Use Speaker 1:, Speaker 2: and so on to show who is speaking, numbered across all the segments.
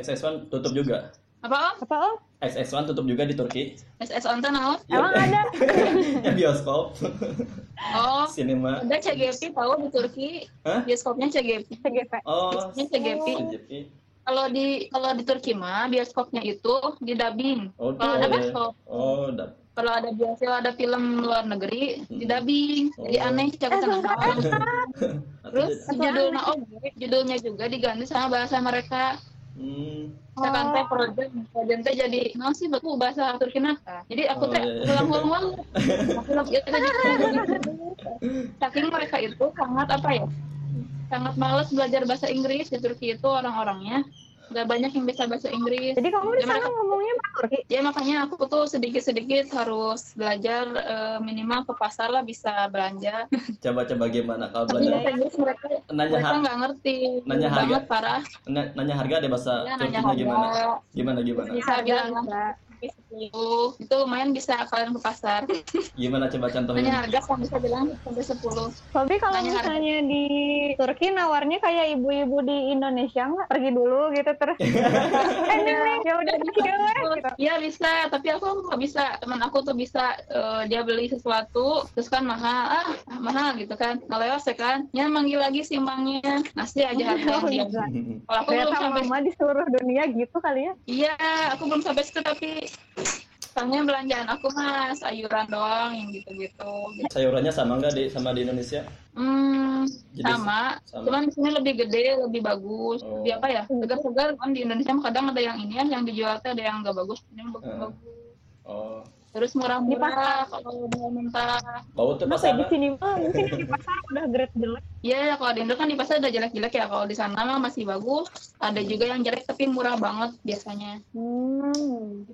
Speaker 1: XS1 tutup juga.
Speaker 2: Apa om?
Speaker 3: Apa om?
Speaker 1: XS1 tup juga di Turki. Iya.
Speaker 2: SS Onten om?
Speaker 3: Emang ada?
Speaker 1: Ya, bioskop,
Speaker 2: Oh,
Speaker 1: sinema.
Speaker 2: ada CGP tahu di Turki
Speaker 1: Hah?
Speaker 2: bioskopnya CGP.
Speaker 3: CGP.
Speaker 1: Oh,
Speaker 2: Ini CGP.
Speaker 1: CGP.
Speaker 2: Kalau di kalau di Turki mah bioskopnya itu di dubbing.
Speaker 1: Oh,
Speaker 2: Kalau ada
Speaker 1: oh,
Speaker 2: bioskop,
Speaker 1: Oh, dap.
Speaker 2: kalau ada bioskop ada film luar negeri di
Speaker 1: Hmm.
Speaker 2: dubbing. Jadi
Speaker 1: Oh.
Speaker 2: aneh cak eh,
Speaker 1: Terus?
Speaker 2: Terus judulnya oge, judulnya juga diganti sama bahasa mereka.
Speaker 1: Hmm.
Speaker 2: Misalkan
Speaker 3: Oh.
Speaker 2: teh project, project teh jadi no sih beku bahasa Turki nata. Jadi aku
Speaker 1: Oh,
Speaker 2: teh
Speaker 1: iya, iya.
Speaker 2: ulang-ulang. Iya, Aku lagi itu jadi saking mereka itu sangat apa ya? Sangat males belajar bahasa Inggris di Turki itu orang-orangnya nggak banyak yang bisa bahasa Inggris.
Speaker 3: Jadi kamu di
Speaker 2: Ya,
Speaker 3: sana
Speaker 2: mereka-
Speaker 3: ngomongnya bahasa Turki?
Speaker 2: Ya makanya aku tuh sedikit-sedikit harus belajar eh, minimal ke pasar lah bisa belanja.
Speaker 1: Coba-coba gimana kalau
Speaker 2: Tapi
Speaker 1: belajar?
Speaker 2: bahasa Inggris mereka
Speaker 1: Nanya
Speaker 2: mereka
Speaker 1: har-
Speaker 2: nggak ngerti
Speaker 1: nanya harga.
Speaker 2: banget parah.
Speaker 1: na- nanya harga ada bahasa
Speaker 2: Ya, nanya
Speaker 1: Turkinya
Speaker 2: harga.
Speaker 1: gimana? Gimana gimana?
Speaker 2: Bisa
Speaker 3: Ada,
Speaker 2: bilang.
Speaker 3: bisa.
Speaker 2: Itu, itu lumayan bisa kalian ke pasar.
Speaker 1: Gimana coba contohnya?
Speaker 2: Nanya harga kamu bisa bilang sampai 10.
Speaker 3: Tapi kalau
Speaker 2: Nanya harga.
Speaker 3: misalnya di Turki nawarnya kayak ibu-ibu di Indonesia nggak pergi dulu gitu terus. eh ini nih, ya udah thank you, eh, gitu.
Speaker 2: Iya bisa, tapi aku nggak bisa. Teman aku tuh bisa eh, dia beli sesuatu, terus kan mahal, ah mahal gitu kan. Kalau ya kan, ya manggil lagi si mangnya, ngasih aja
Speaker 3: Oh,
Speaker 2: harga
Speaker 3: iya.
Speaker 2: yang dia. Kalau aku belum
Speaker 3: Ternyata
Speaker 2: sampai,
Speaker 3: mama di seluruh dunia gitu kali ya.
Speaker 2: iya aku belum sampai situ tapi soalnya belanjaan aku mah sayuran doang yang gitu-gitu.
Speaker 1: Sayurannya sama nggak di sama di Indonesia?
Speaker 2: Hmm,
Speaker 1: Jadi
Speaker 2: sama.
Speaker 1: sama.
Speaker 2: Cuman di sini lebih gede, lebih bagus.
Speaker 1: Oh.
Speaker 2: Lebih apa ya? Segar-segar kan di Indonesia mah kadang ada yang ini yang dijual tuh ada yang nggak bagus, ini yang
Speaker 1: Eh.
Speaker 2: bagus.
Speaker 1: Oh,
Speaker 2: Terus murah-murah kalau mau minta
Speaker 1: bau tuh
Speaker 3: Terus ya di
Speaker 1: pasar.
Speaker 2: gitu
Speaker 3: sini mah mungkin di pasar udah grade jelek.
Speaker 2: Iya, kalau di Indo kan di pasar ada jelek-jelek ya. Kalau di sana mah masih bagus. Ada juga yang jelek tapi murah banget biasanya.
Speaker 3: Hmm.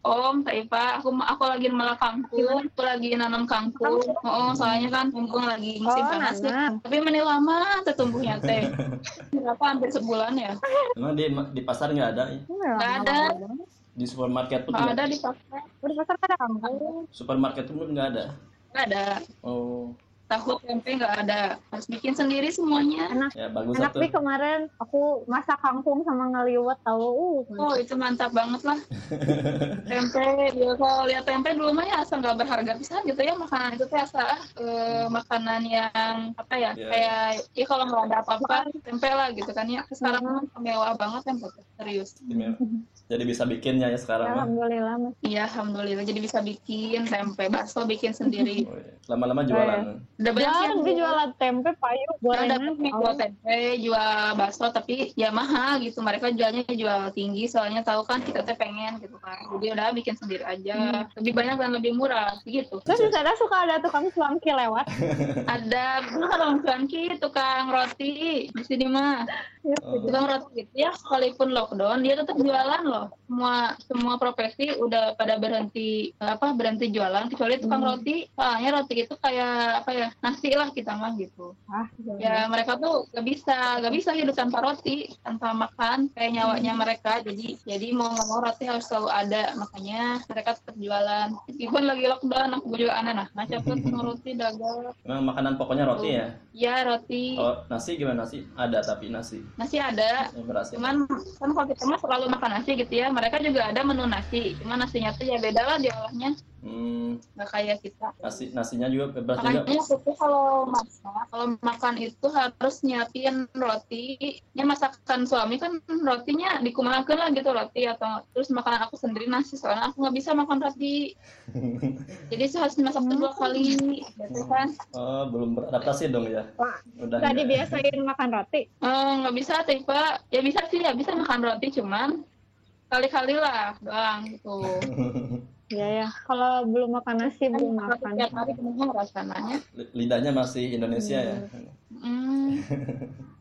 Speaker 2: Om, Taipa, aku aku lagi malah kangkung, aku lagi nanam kangkung. Oh, soalnya kan kangkung lagi musim
Speaker 3: Oh,
Speaker 2: panas ya.
Speaker 3: nanam.
Speaker 2: Tapi menit lama tertumbuhnya teh. Berapa hampir sebulan ya?
Speaker 1: Emang di di pasar nggak ada? ya?
Speaker 2: Nggak ada.
Speaker 1: Di supermarket pun nggak
Speaker 2: Kalau ada di pasar
Speaker 3: Terus pasar kan ada kampung.
Speaker 1: Supermarket pun nggak ada.
Speaker 2: nggak ada.
Speaker 1: Oh,
Speaker 2: Tahu tempe nggak ada. Harus bikin sendiri semuanya.
Speaker 1: ya
Speaker 2: Oh,
Speaker 1: bagus
Speaker 3: Enak
Speaker 1: satu.
Speaker 3: nih kemarin aku masak kangkung sama ngeliwet tahu. Uh,
Speaker 2: Oh itu mantap banget lah tempe ya kalau lihat tempe dulu mah ya asal nggak berharga pisan gitu ya makanan itu teh asa ah, eh, makanan yang apa ya
Speaker 1: Iya.
Speaker 2: kayak ya kalau nggak ada apa-apa tempe lah gitu kan ya sekarang mah mewah banget tempe tuh, serius
Speaker 1: ya. Jadi bisa bikinnya ya sekarang. mah.
Speaker 3: Alhamdulillah mas.
Speaker 2: iya alhamdulillah jadi bisa bikin tempe bakso bikin sendiri
Speaker 1: Oh, iya. Lama-lama jualan.
Speaker 2: udah banyak sih
Speaker 3: Jualan
Speaker 2: yang
Speaker 3: dia jualan tempe payung
Speaker 2: Ada
Speaker 3: gorengan.
Speaker 2: yang jual tempe, jual bakso, tapi ya mahal gitu. Mereka jualnya jual tinggi, soalnya tahu kan kita teh pengen gitu kan. Jadi udah bikin sendiri aja. Lebih banyak dan lebih murah, gitu.
Speaker 3: Terus di sana suka ada tukang selangki lewat.
Speaker 2: ada bukan tukang cuanki, tukang roti di sini mah
Speaker 3: Ya,
Speaker 1: Oh, iya.
Speaker 2: tukang roti gitu ya sekalipun lockdown dia tetap jualan loh semua semua profesi udah pada berhenti apa berhenti jualan kecuali tukang roti soalnya roti itu kayak apa ya nasi lah kita mah gitu
Speaker 3: Ah,
Speaker 2: ya mereka tuh gak bisa gak bisa hidup tanpa roti tanpa makan kayak nyawanya
Speaker 1: Hmm.
Speaker 2: mereka jadi jadi mau nggak mau roti harus selalu ada makanya mereka tetap jualan meskipun lagi lockdown aku juga aneh nah macam tuh tukang roti dagang
Speaker 1: Emang makanan pokoknya roti ya?
Speaker 2: Ya roti
Speaker 1: Oh, nasi gimana nasi? Ada tapi nasi.
Speaker 2: nasi ada,
Speaker 1: Yang berhasil.
Speaker 2: cuman kan kalau kita mah selalu makan nasi gitu ya. Mereka juga ada menu nasi, cuman nasinya tuh ya beda lah diolahnya,
Speaker 1: Hmm,
Speaker 2: nggak kayak kita.
Speaker 1: nasi nasinya juga bebas juga.
Speaker 2: Makanya aku tuh kalau masak, kalau makan itu harus nyiapin roti. Ya masakan suami kan rotinya dikumahkan lah gitu roti atau terus makanan aku sendiri nasi soalnya aku nggak bisa makan roti. Jadi harus masak tuh dua kali, gitu kan?
Speaker 1: Oh, belum beradaptasi dong ya.
Speaker 3: Wah,
Speaker 1: Udah. nggak-
Speaker 3: Gak dibiasain makan roti.
Speaker 2: Eh, nggak bisa tipe ya bisa sih ya bisa makan roti cuman kali-kali lah doang gitu
Speaker 3: Iya ya. Kalau belum makan nasi belum Iya,
Speaker 2: Kan
Speaker 3: makan.
Speaker 2: tiap hari penuh rasanya
Speaker 1: Hmm. Lidahnya masih Indonesia ya.
Speaker 2: hmm.